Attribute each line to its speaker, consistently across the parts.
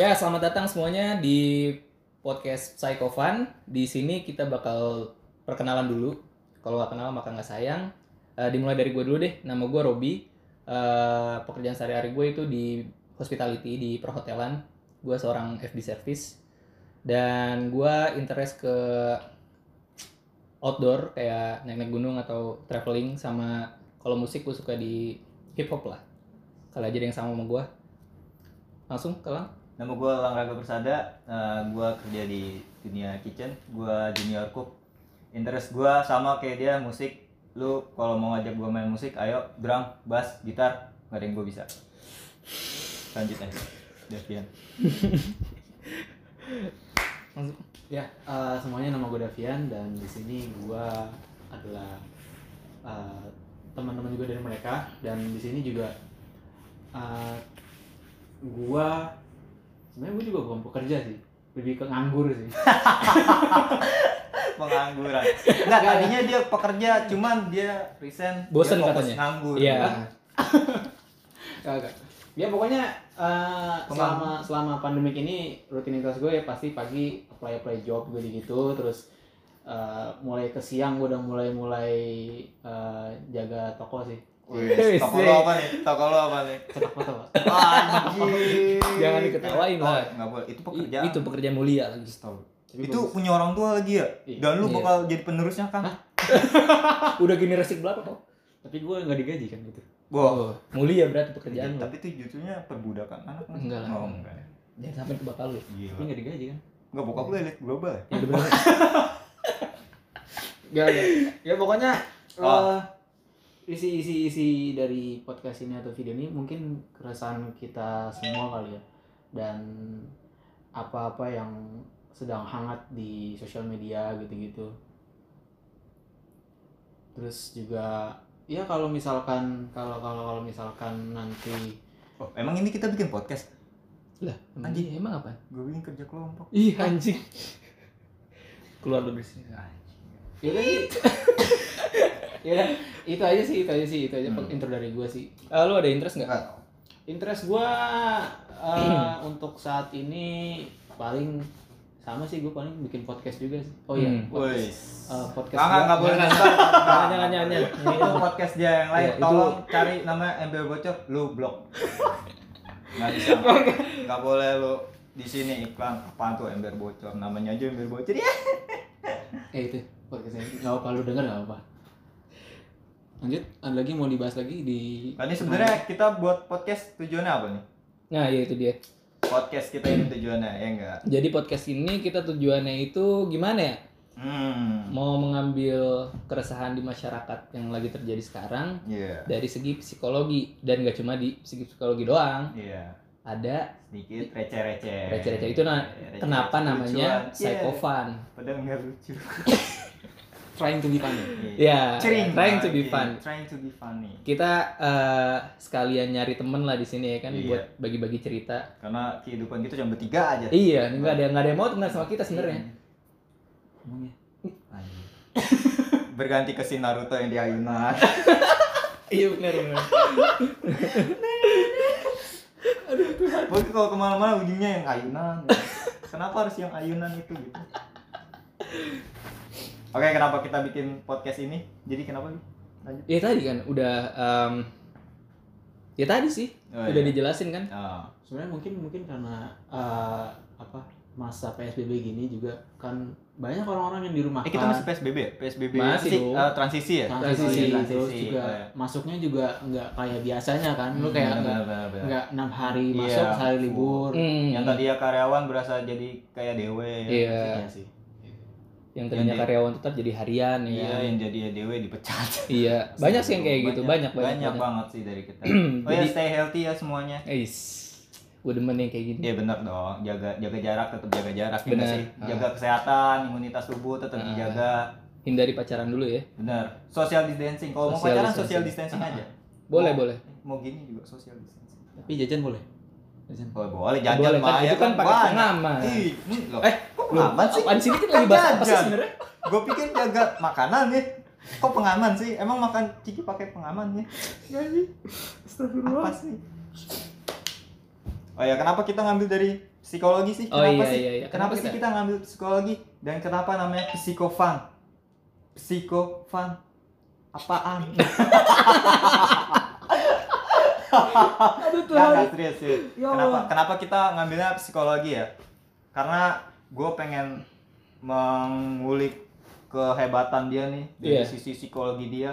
Speaker 1: Ya, selamat datang semuanya di podcast Psychofan. Di sini kita bakal perkenalan dulu. Kalau nggak kenal maka nggak sayang. Eh, dimulai dari gue dulu deh. Nama gue Robi. Eh, pekerjaan sehari-hari gue itu di hospitality, di perhotelan. Gue seorang FB service. Dan gue interest ke outdoor kayak naik-naik gunung atau traveling sama kalau musik gue suka di hip hop lah. Kalau aja ada yang sama sama gue. Langsung ke Lang.
Speaker 2: Nama gue Langgaga Persada, Eh, gua kerja di dunia kitchen, gua junior cook. Interest gua sama kayak dia musik. Lu kalau mau ngajak gua main musik, ayo drum, bass, gitar, gak ada yang gue bisa. Lanjut aja. Devian.
Speaker 1: Langsung.
Speaker 3: Ya, eh, semuanya nama gue Davian dan di sini gue adalah eh, teman-teman juga dari mereka dan di sini juga eh, gue sebenarnya gue juga bukan pekerja sih, lebih ke nganggur sih.
Speaker 2: Pengangguran. Enggak, tadinya dia pekerja, cuman dia resign.
Speaker 1: Bosen
Speaker 2: dia fokus
Speaker 1: katanya.
Speaker 2: Nganggur.
Speaker 1: Iya.
Speaker 3: Nah. Kagak. Ya pokoknya eh, selama selama pandemik ini rutinitas gue ya pasti pagi apply apply job gue gitu terus eh, mulai ke siang gue udah mulai mulai eh, jaga toko sih.
Speaker 2: Wih, toko lu apa nih? Toko lu apa nih?
Speaker 3: Cetak foto.
Speaker 2: Anjir.
Speaker 1: Jangan diketawain
Speaker 2: Oh,
Speaker 1: lah.
Speaker 2: nggak boleh. Itu
Speaker 1: I-
Speaker 2: pekerjaan.
Speaker 1: Itu pekerjaan mulia lagi.
Speaker 3: Tapi
Speaker 2: itu
Speaker 3: bagus.
Speaker 2: punya orang tua lagi ya
Speaker 3: Iya.
Speaker 2: dan lu
Speaker 1: Iya.
Speaker 2: bakal jadi penerusnya kan
Speaker 1: Udah generasi berapa kok?
Speaker 3: tapi gue nggak digaji kan gitu
Speaker 2: Wah,
Speaker 1: Mulia berarti pekerjaan lo.
Speaker 2: tapi itu judulnya perbudakan anak kan?
Speaker 1: Enggak lah.
Speaker 2: Oh, enggak.
Speaker 1: Jangan sampai kebakar lu.
Speaker 3: tapi
Speaker 2: Gila.
Speaker 3: nggak digaji kan
Speaker 2: Enggak bokap lu elit global. ya?
Speaker 1: Ya, udah bener.
Speaker 3: gak ya ya pokoknya
Speaker 2: Oh.
Speaker 3: eh, isi isi isi dari podcast ini atau video ini mungkin keresahan kita semua kali ya dan apa-apa yang sedang hangat di sosial media gitu-gitu terus juga ya kalau misalkan kalau kalau kalau misalkan nanti
Speaker 2: Oh, emang ini kita bikin podcast?
Speaker 1: Lah, anjing emang apa?
Speaker 2: Gue bikin kerja kelompok.
Speaker 1: Ih, anjing. Keluar lu dari sini.
Speaker 3: ya udah Ya itu aja sih itu aja sih itu aja
Speaker 2: Hmm.
Speaker 3: intro dari gue sih
Speaker 1: Ah, lu ada interest nggak?
Speaker 2: Enggak.
Speaker 3: Interest gua eh, untuk saat ini paling sama sih gue paling bikin podcast juga sih. Oh iya,
Speaker 1: Hmm.
Speaker 3: podcast,
Speaker 2: Woi.
Speaker 3: eh, podcast
Speaker 2: Enggak,
Speaker 3: gua-
Speaker 2: enggak boleh nonton.
Speaker 1: Jangan, jangan, jangan, jangan.
Speaker 2: Itu podcast dia yang lain.
Speaker 1: Iya, itu-
Speaker 2: Tolong cari nama Embel Bocor, lu blok. Enggak bisa. Enggak boleh lu di sini iklan apaan tuh ember bocor namanya aja ember bocor ya
Speaker 3: Eh itu podcastnya nggak apa lu denger nggak apa. Lanjut, ada lagi mau dibahas lagi di.
Speaker 2: Nah, ini sebenarnya kita buat podcast tujuannya apa nih
Speaker 1: Nah, ya itu dia.
Speaker 2: podcast kita ini tujuannya ya enggak
Speaker 1: Jadi podcast ini kita tujuannya itu gimana ya?
Speaker 2: hmm
Speaker 1: Mau mengambil keresahan di masyarakat yang lagi terjadi sekarang
Speaker 2: iya
Speaker 1: dari segi psikologi dan gak cuma di segi psikologi doang.
Speaker 2: iya
Speaker 1: Ada
Speaker 2: sedikit receh-receh.
Speaker 1: Receh-receh. Itu na-
Speaker 2: Receh-receh.
Speaker 1: kenapa namanya
Speaker 2: Lucuan.
Speaker 1: psikopan?
Speaker 2: Iya, Padahal nggak lucu.
Speaker 3: Trying to be funny.
Speaker 1: Ya,
Speaker 2: Cering.
Speaker 1: trying to be
Speaker 2: Iya,
Speaker 1: fun.
Speaker 2: Trying to be funny.
Speaker 1: Kita eh, sekalian nyari temen lah di sini ya kan
Speaker 2: Iya.
Speaker 1: buat bagi-bagi cerita.
Speaker 2: Karena kehidupan kita cuma bertiga aja.
Speaker 1: Iya, nggak ada nggak ada yang mau temenan sama kita
Speaker 2: Iya.
Speaker 1: sebenarnya.
Speaker 3: Emang ya?
Speaker 2: Anjing. Berganti ke si Naruto yang di Ayunan.
Speaker 1: Iya benar benar.
Speaker 2: Pokoknya kalau kemana-mana ujungnya yang Ayunan. Kenapa harus yang Ayunan itu gitu? Oke, kenapa kita bikin podcast ini? Jadi kenapa? Bi? Lanjut.
Speaker 1: Ya tadi kan udah em, ya tadi sih
Speaker 2: Oh,
Speaker 1: udah
Speaker 2: iya.
Speaker 1: dijelasin kan.
Speaker 2: Ah,
Speaker 3: Sebenarnya mungkin mungkin karena eh, apa masa PSBB gini juga kan banyak orang-orang yang di rumah. kan.
Speaker 2: Eh kita masih PSBB ya? PSBB
Speaker 1: Masih
Speaker 2: apa sih?
Speaker 1: dong.
Speaker 2: Eh, transisi ya?
Speaker 3: transisi,
Speaker 2: Oh, iya,
Speaker 3: terus Nah, juga
Speaker 2: Oh, iya.
Speaker 3: masuknya juga nggak kayak biasanya kan lu
Speaker 2: Hmm,
Speaker 3: kayak nggak
Speaker 2: benar-benar.
Speaker 3: nggak enam hari
Speaker 2: Iya,
Speaker 3: masuk sehari
Speaker 2: full.
Speaker 3: libur
Speaker 1: Hmm,
Speaker 2: yang tadi ya karyawan berasa jadi kayak dewe ya.
Speaker 1: Iya.
Speaker 3: Iya sih
Speaker 1: yang tadinya
Speaker 2: yang di-
Speaker 1: karyawan tetap jadi harian ya.
Speaker 2: Iya,
Speaker 1: Iya.
Speaker 2: yang jadi ya dewe dipecat.
Speaker 1: Banyak sih yang kayak gitu, banyak banyak.
Speaker 2: Banyak banget sih dari kita.
Speaker 1: banyak.
Speaker 2: Oh ya stay healthy ya semuanya.
Speaker 1: Eis. Gue demen yang kayak gini.
Speaker 2: Iya benar dong, jaga jaga jarak tetap jaga jarak ya
Speaker 1: Benar.
Speaker 2: nggak sih. Jaga kesehatan, imunitas tubuh tetap
Speaker 1: Ah.
Speaker 2: dijaga.
Speaker 1: Hindari pacaran dulu ya.
Speaker 2: Benar. Social distancing. Kalau mau
Speaker 1: Social
Speaker 2: pacaran
Speaker 1: distancing.
Speaker 2: social distancing
Speaker 1: Ah.
Speaker 2: aja.
Speaker 1: Boleh,
Speaker 2: Mau-
Speaker 1: boleh.
Speaker 2: Mau gini juga social distancing.
Speaker 3: tapi jajan boleh jajan
Speaker 2: Oh, boleh
Speaker 1: Boleh,
Speaker 2: jajan
Speaker 1: kan?
Speaker 2: mah ya
Speaker 1: Itu kan pakai
Speaker 2: banyak.
Speaker 1: pengaman.
Speaker 2: Ih, hmm, loh.
Speaker 1: Eh,
Speaker 2: kok
Speaker 1: Loh,
Speaker 2: pengaman sih?
Speaker 1: apaan sini kita
Speaker 2: Kan
Speaker 1: lagi bahas apa sih
Speaker 2: jajan.
Speaker 1: sebenarnya?
Speaker 2: Gue pikir jaga makanan nih. Kok pengaman sih? Emang makan ciki pakai pengaman ya?
Speaker 3: Gak sih?
Speaker 2: Apa
Speaker 3: Astagfirullah.
Speaker 2: sih? Oh ya, kenapa kita ngambil dari psikologi sih?
Speaker 1: Oh
Speaker 2: Kenapa
Speaker 1: iya,
Speaker 2: sih?
Speaker 1: iya, iya. Kenapa
Speaker 2: Kenapa, sih
Speaker 1: kita-
Speaker 2: kita ngambil psikologi dan kenapa namanya psikofan? Psikofan. Apaan?
Speaker 3: Aduh
Speaker 2: Nggak, nggak,
Speaker 3: Tuhan.
Speaker 2: serius, serius.
Speaker 3: Ya
Speaker 2: Kenapa,
Speaker 3: Allah.
Speaker 2: kenapa kita ngambilnya psikologi ya? Karena gue pengen mengulik kehebatan dia nih dari
Speaker 1: Iya.
Speaker 2: sisi psikologi dia.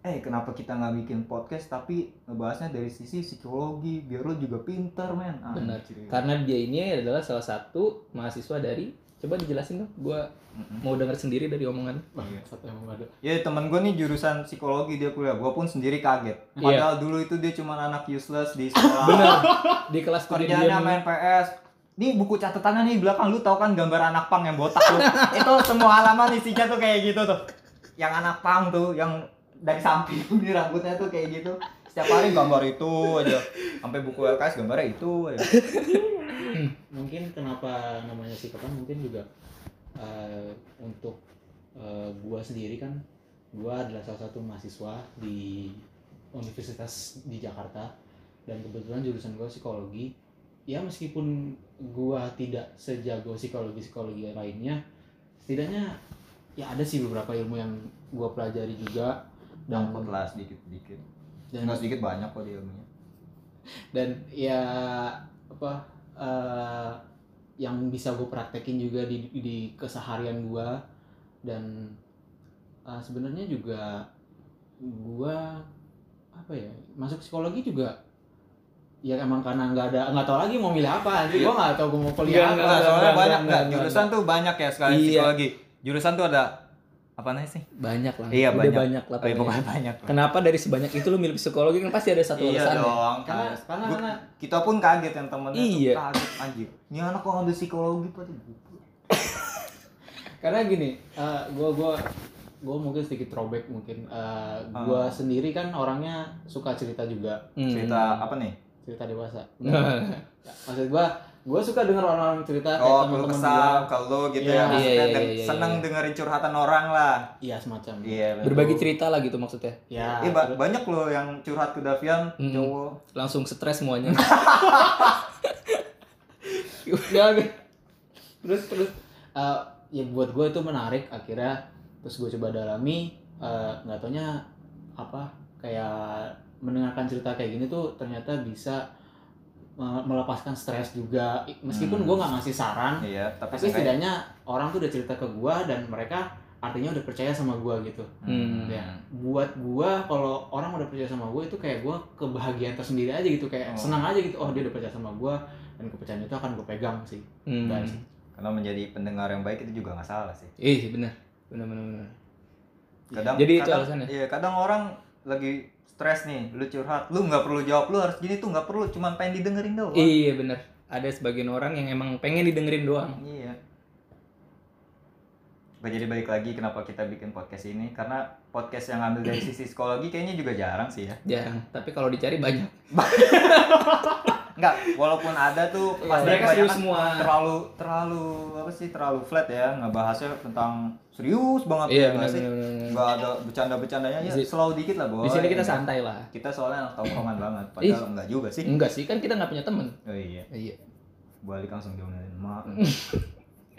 Speaker 2: Eh kenapa kita nggak bikin podcast tapi ngebahasnya dari sisi psikologi biar lo juga pinter men. Ah,
Speaker 1: Benar.
Speaker 2: anjir.
Speaker 3: gitu.
Speaker 1: Karena dia ini adalah salah satu mahasiswa dari coba dijelasin dong, gua
Speaker 2: Mm-mm.
Speaker 1: mau denger sendiri dari omongan.
Speaker 2: Iya.
Speaker 3: Satu emang ada.
Speaker 2: Ya temen gue nih jurusan psikologi dia kuliah. Gue pun sendiri kaget. Padahal dulu itu dia cuma anak useless di sekolah.
Speaker 1: Benar. Di kelas tuh dia
Speaker 2: Kerjanya
Speaker 1: diem.
Speaker 2: main PS. Nih buku catatannya nih di belakang lu tau kan gambar anak pang yang botak tuh. itu semua halaman isinya tuh kayak gitu tuh. Yang anak pang tuh yang dari samping di rambutnya tuh kayak gitu. Setiap hari gambar itu aja. Sampai buku LKS gambarnya itu aja.
Speaker 3: mungkin kenapa namanya psikopat mungkin juga eh, untuk eh, gua sendiri kan gua adalah salah satu mahasiswa di universitas di Jakarta dan kebetulan jurusan gua psikologi ya meskipun gua tidak sejago psikologi psikologi lainnya setidaknya ya ada sih beberapa ilmu yang gua pelajari juga dan
Speaker 2: Dapat lah sedikit-sedikit.
Speaker 3: dan
Speaker 2: Enggak sedikit banyak kok dia ilmunya.
Speaker 3: dan ya apa eh, yang bisa gue praktekin juga di di keseharian gue dan eh, sebenarnya juga gue apa ya masuk psikologi juga ya emang karena nggak ada nggak tahu lagi mau milih apa gue nggak tahu gue mau kuliah
Speaker 1: Nggak,
Speaker 3: apa
Speaker 2: Enggak, soalnya
Speaker 1: enggak,
Speaker 2: banyak
Speaker 1: enggak,
Speaker 2: enggak.
Speaker 1: enggak,
Speaker 2: Jurusan tuh banyak ya sekali
Speaker 1: Iya.
Speaker 2: psikologi. Jurusan tuh ada apa namanya sih?
Speaker 1: Banyak lah.
Speaker 2: Iya,
Speaker 1: Udah
Speaker 2: banyak.
Speaker 1: banyak lah
Speaker 2: Oh, iya,
Speaker 1: pokoknya.
Speaker 2: pokoknya banyak. lah.
Speaker 1: Kenapa dari sebanyak itu lu milih psikologi kan pasti ada Kan satu
Speaker 2: Iya
Speaker 1: alasan.
Speaker 2: dong.
Speaker 3: karena
Speaker 2: kan.
Speaker 3: karena,
Speaker 2: Gua-
Speaker 3: karena
Speaker 2: kita pun kaget yang temennya
Speaker 1: Iya. Hmm.
Speaker 2: tuh kaget anjir. Ini anak kok ngambil psikologi pasti goblok.
Speaker 3: karena gini eh, gua gue gue mungkin sedikit throwback mungkin Eh,
Speaker 2: Ah.
Speaker 3: gua sendiri kan orangnya suka cerita juga
Speaker 1: Hmm.
Speaker 2: Cerita apa nih?
Speaker 3: cerita dewasa. Ya, Maksud gua, gua suka denger orang-orang cerita kayak
Speaker 2: Oh, kalau
Speaker 3: teman-teman gua.
Speaker 2: kesal, kalau gitu
Speaker 3: Iya,
Speaker 2: ya. Maksudnya
Speaker 1: Eh, iya,
Speaker 2: dan
Speaker 1: iya, iya,
Speaker 2: seneng
Speaker 1: iya.
Speaker 2: dengerin curhatan orang lah.
Speaker 3: Iya semacam.
Speaker 2: Iya.
Speaker 1: Berbagi cerita lah gitu maksudnya.
Speaker 3: Ya.
Speaker 2: Iya, ba- banyak loh yang curhat ke Davian,
Speaker 1: Mm-mm.
Speaker 2: cowok.
Speaker 1: Langsung stres semuanya.
Speaker 3: terus, ya, oke. terus terus eh, ya buat gua itu menarik akhirnya terus gua coba dalami eh, nggak taunya apa kayak mendengarkan cerita kayak gini tuh ternyata bisa me- melepaskan stres juga meskipun
Speaker 2: Hmm.
Speaker 3: gua nggak ngasih saran
Speaker 2: Iya, tapi,
Speaker 3: tapi
Speaker 2: seenggaknya-
Speaker 3: setidaknya orang tuh udah cerita ke gua dan mereka artinya udah percaya sama gua gitu
Speaker 1: Hmm.
Speaker 3: Ya. buat gua kalau orang udah percaya sama gua itu kayak gua kebahagiaan tersendiri aja gitu kayak
Speaker 2: Oh.
Speaker 3: senang aja gitu oh dia udah percaya sama gua dan kepercayaan itu akan gue pegang sih
Speaker 1: Hmm.
Speaker 3: Guys.
Speaker 2: Karena menjadi pendengar yang baik itu juga nggak salah sih.
Speaker 1: Ih, benar. Benar benar benar.
Speaker 2: Iya. Kadang
Speaker 1: Jadi itu
Speaker 2: kadang,
Speaker 1: alasannya?
Speaker 2: Iya, kadang orang lagi stres nih, lu curhat, lu nggak perlu jawab, lu harus gini tuh nggak perlu, cuman pengen didengerin doang.
Speaker 1: Iya, benar. Ada sebagian orang yang emang pengen didengerin doang.
Speaker 2: Iya. Gak jadi balik lagi kenapa kita bikin podcast ini karena podcast yang ambil dari sisi psikologi kayaknya juga jarang sih ya.
Speaker 1: Jarang, tapi kalau dicari banyak.
Speaker 2: Enggak, walaupun ada tuh pasti
Speaker 1: Iya, Mereka
Speaker 2: kebanyakan
Speaker 1: serius semua.
Speaker 2: terlalu terlalu apa sih terlalu flat ya ngebahasnya tentang serius banget gitu
Speaker 1: Iya,
Speaker 2: nggak
Speaker 1: benar
Speaker 2: sih?
Speaker 1: benar. benar.
Speaker 2: Nggak ada bercanda-bercandanya ya,
Speaker 1: Di si-
Speaker 2: slow dikit lah, Boy.
Speaker 1: Di sini kita santai lah.
Speaker 2: Kita soalnya anak tongkrongan banget, padahal enggak juga sih.
Speaker 1: Enggak sih, kan kita nggak punya temen.
Speaker 2: Oh iya,
Speaker 1: Iya.
Speaker 2: balik langsung diomelin emak.
Speaker 1: Hmm.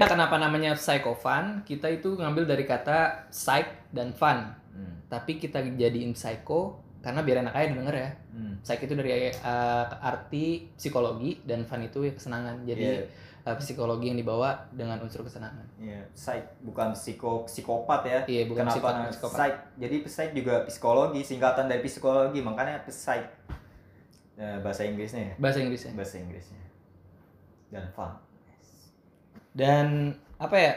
Speaker 1: Nah, kenapa namanya psychofun? Kita itu ngambil dari kata psych dan fun.
Speaker 2: Hmm.
Speaker 1: Tapi kita jadiin psycho karena biar enak aja denger ya.
Speaker 2: Hmm.
Speaker 1: Psych itu dari eh, arti psikologi dan fun itu ya kesenangan. Jadi
Speaker 2: Iya.
Speaker 1: eh, psikologi yang dibawa dengan unsur kesenangan.
Speaker 2: Iya, psych bukan psiko psikopat ya.
Speaker 1: Iya, bukan
Speaker 2: Kenapa
Speaker 1: psikopat,
Speaker 2: namanya
Speaker 1: psikopat.
Speaker 2: psych? Jadi psych juga psikologi, singkatan dari psikologi, makanya psych. Eh, bahasa Inggrisnya ya.
Speaker 1: Bahasa Inggrisnya.
Speaker 2: Bahasa Inggrisnya. Dan fun.
Speaker 1: Dan apa ya?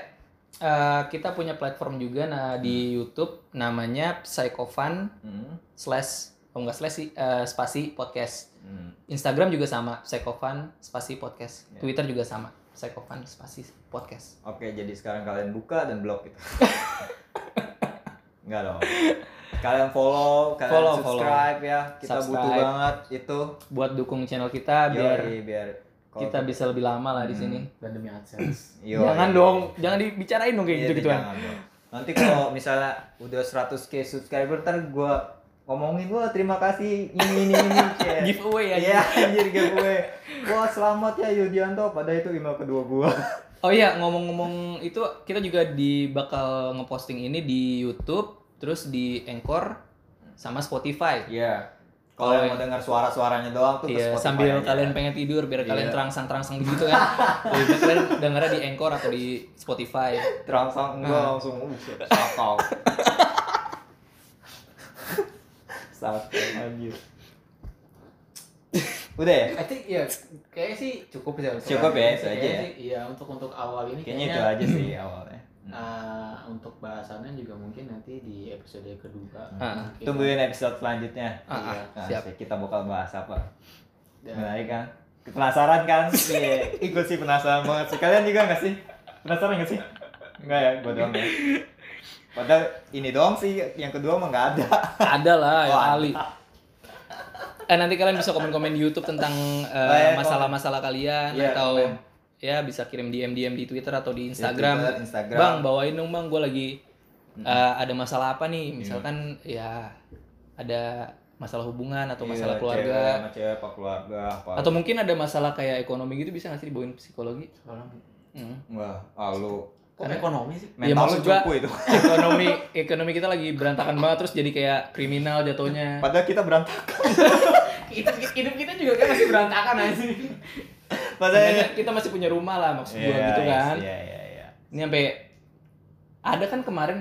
Speaker 1: eh, kita punya platform juga nah di YouTube namanya psychofun
Speaker 2: Hmm.
Speaker 1: slash oh enggak slash sih eh, spasi podcast.
Speaker 2: Hmm.
Speaker 1: Instagram juga sama, Psychofan spasi podcast.
Speaker 2: Ya.
Speaker 1: Twitter juga sama, Psychofan spasi podcast.
Speaker 2: Oke, jadi sekarang kalian buka dan blok gitu. Enggak dong. Kalian follow, kalian
Speaker 1: Follow,
Speaker 2: subscribe ya. Kita butuh
Speaker 1: Subscribe.
Speaker 2: banget itu.
Speaker 1: Buat dukung channel kita biar
Speaker 2: Yoi, biar kalau-
Speaker 1: kita bisa lebih lama lah di
Speaker 2: Hmm.
Speaker 1: sini.
Speaker 3: dan demi adsense
Speaker 2: Yoi.
Speaker 1: Jangan dong, jangan dibicarain dong kayak gitu kan.
Speaker 2: Iya,
Speaker 1: gitu-gituan.
Speaker 2: jangan dong.
Speaker 1: Oke,
Speaker 2: nanti kalau misalnya udah 100k subscriber ntar gue ngomongin wah terima kasih ini ini ini kayak
Speaker 1: giveaway ya
Speaker 2: Iya anjir giveaway. Wah selamat ya Yudianto pada itu email kedua gua.
Speaker 1: oh iya ngomong-ngomong itu kita juga di bakal ngeposting ini di YouTube terus di Anchor sama Spotify
Speaker 2: Iya. Kalau yang mau dengar suara-suaranya doang tuh ke
Speaker 1: Iya,
Speaker 2: Spotify
Speaker 1: sambil
Speaker 2: aja.
Speaker 1: kalian pengen tidur biar kalian
Speaker 2: Iya.
Speaker 1: terangsang-terangsang gitu kan. Lebih baik kalian dengarnya di Anchor atau di Spotify.
Speaker 2: terangsang gua
Speaker 1: Ah.
Speaker 2: langsung uh, sakau. Sakau anjir. Udah ya?
Speaker 3: I think ya kayaknya sih cukup ya. untuk
Speaker 2: Cukup
Speaker 3: hari
Speaker 2: ya,
Speaker 3: ini
Speaker 2: itu
Speaker 3: sih.
Speaker 2: aja
Speaker 3: Kayaknya
Speaker 2: ya.
Speaker 3: sih, Iya untuk untuk awal ini
Speaker 2: Kayaknya
Speaker 1: Iya.
Speaker 2: itu aja sih awalnya. Hmm.
Speaker 3: eh, untuk bahasannya juga mungkin nanti di episode kedua.
Speaker 1: Ah,
Speaker 3: mungkin.
Speaker 2: Tungguin episode selanjutnya.
Speaker 1: Ah, ah,
Speaker 2: Nah,
Speaker 1: siap. Ya.
Speaker 2: kita bakal bahas apa?
Speaker 3: Dan-
Speaker 2: Menarik kan? Penasaran kan? Iya, ikut sih penasaran banget sih. Kalian juga nggak sih? Penasaran nggak sih? Enggak ya, gua doang ya. Padahal ini doang sih, yang kedua mah nggak ada.
Speaker 1: Ada lah, ya
Speaker 2: Oh, ada.
Speaker 1: kali. Eh nanti kalian bisa komen-komen di YouTube tentang eh,
Speaker 2: Oh, iya,
Speaker 1: masalah-masalah kalian
Speaker 2: Iya,
Speaker 1: atau
Speaker 2: komen.
Speaker 1: ya bisa kirim DM DM di Twitter atau di Instagram.
Speaker 2: Ya, Twitter, Instagram.
Speaker 1: Bang, bawain dong Bang, gue lagi eh, ada masalah apa nih? Misalkan ya ada masalah hubungan atau masalah
Speaker 2: Iya,
Speaker 1: keluarga
Speaker 2: Cewek, sama cewek, apa keluarga, apa.
Speaker 1: atau mungkin ada masalah kayak ekonomi gitu bisa nggak sih dibawain psikologi?
Speaker 3: Sekarang
Speaker 1: Hmm.
Speaker 2: Wah, ah, lu.
Speaker 3: kok ekonomi sih?
Speaker 1: Iya,
Speaker 2: Mental lu
Speaker 1: maksud gua-
Speaker 2: cupu itu.
Speaker 1: ekonomi ekonomi kita lagi berantakan banget terus jadi kayak kriminal jatuhnya
Speaker 2: Padahal kita berantakan.
Speaker 3: Kita hidup kita juga kan masih berantakan aja sih.
Speaker 2: Padahal.
Speaker 1: Sebenarnya kita masih punya rumah lah maksud gua
Speaker 2: Iya,
Speaker 1: gitu
Speaker 2: iya,
Speaker 1: kan
Speaker 2: Iya, iya, iya.
Speaker 1: ini sampai ada kan kemarin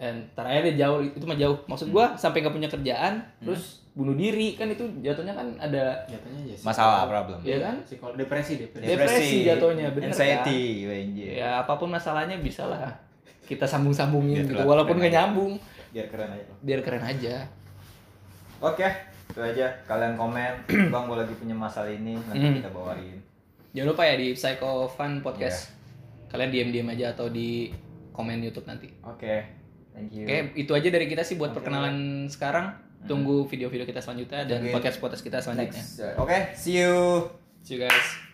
Speaker 1: eh, ntar aja deh jauh itu mah jauh maksud
Speaker 2: Hmm.
Speaker 1: gua sampai nggak punya kerjaan terus bunuh diri kan itu jatuhnya kan ada
Speaker 3: Jatuhnya aja ya sih.
Speaker 2: Masalah, problem.
Speaker 1: Iya kan?
Speaker 3: Psikologi depresi depresi.
Speaker 1: Dep- Depresi jatuhnya, bener
Speaker 2: Anxiety, anjir.
Speaker 1: ya apapun masalahnya bisa lah kita sambung-sambungin
Speaker 2: Biar
Speaker 1: gitu
Speaker 2: keren-
Speaker 1: walaupun
Speaker 2: Iya, keren
Speaker 1: nggak
Speaker 2: aja.
Speaker 1: nyambung
Speaker 2: Biar keren aja.
Speaker 1: biar keren aja
Speaker 2: Oke, itu aja. Kalian komen, Bang, gue lagi punya masalah ini, nanti
Speaker 1: Hmm.
Speaker 2: kita bawain.
Speaker 1: jangan lupa ya di Psycho Fun Podcast
Speaker 2: Iya.
Speaker 1: kalian diam-diam aja atau di komen YouTube nanti
Speaker 2: Oke, thank you.
Speaker 1: Oke, itu aja dari kita sih buat
Speaker 2: Oke.
Speaker 1: perkenalan sekarang. Tunggu video-video kita selanjutnya dan
Speaker 2: Tungguin.
Speaker 1: podcast-podcast kita selanjutnya.
Speaker 2: Next. Oke, uh, see you.
Speaker 1: See you guys.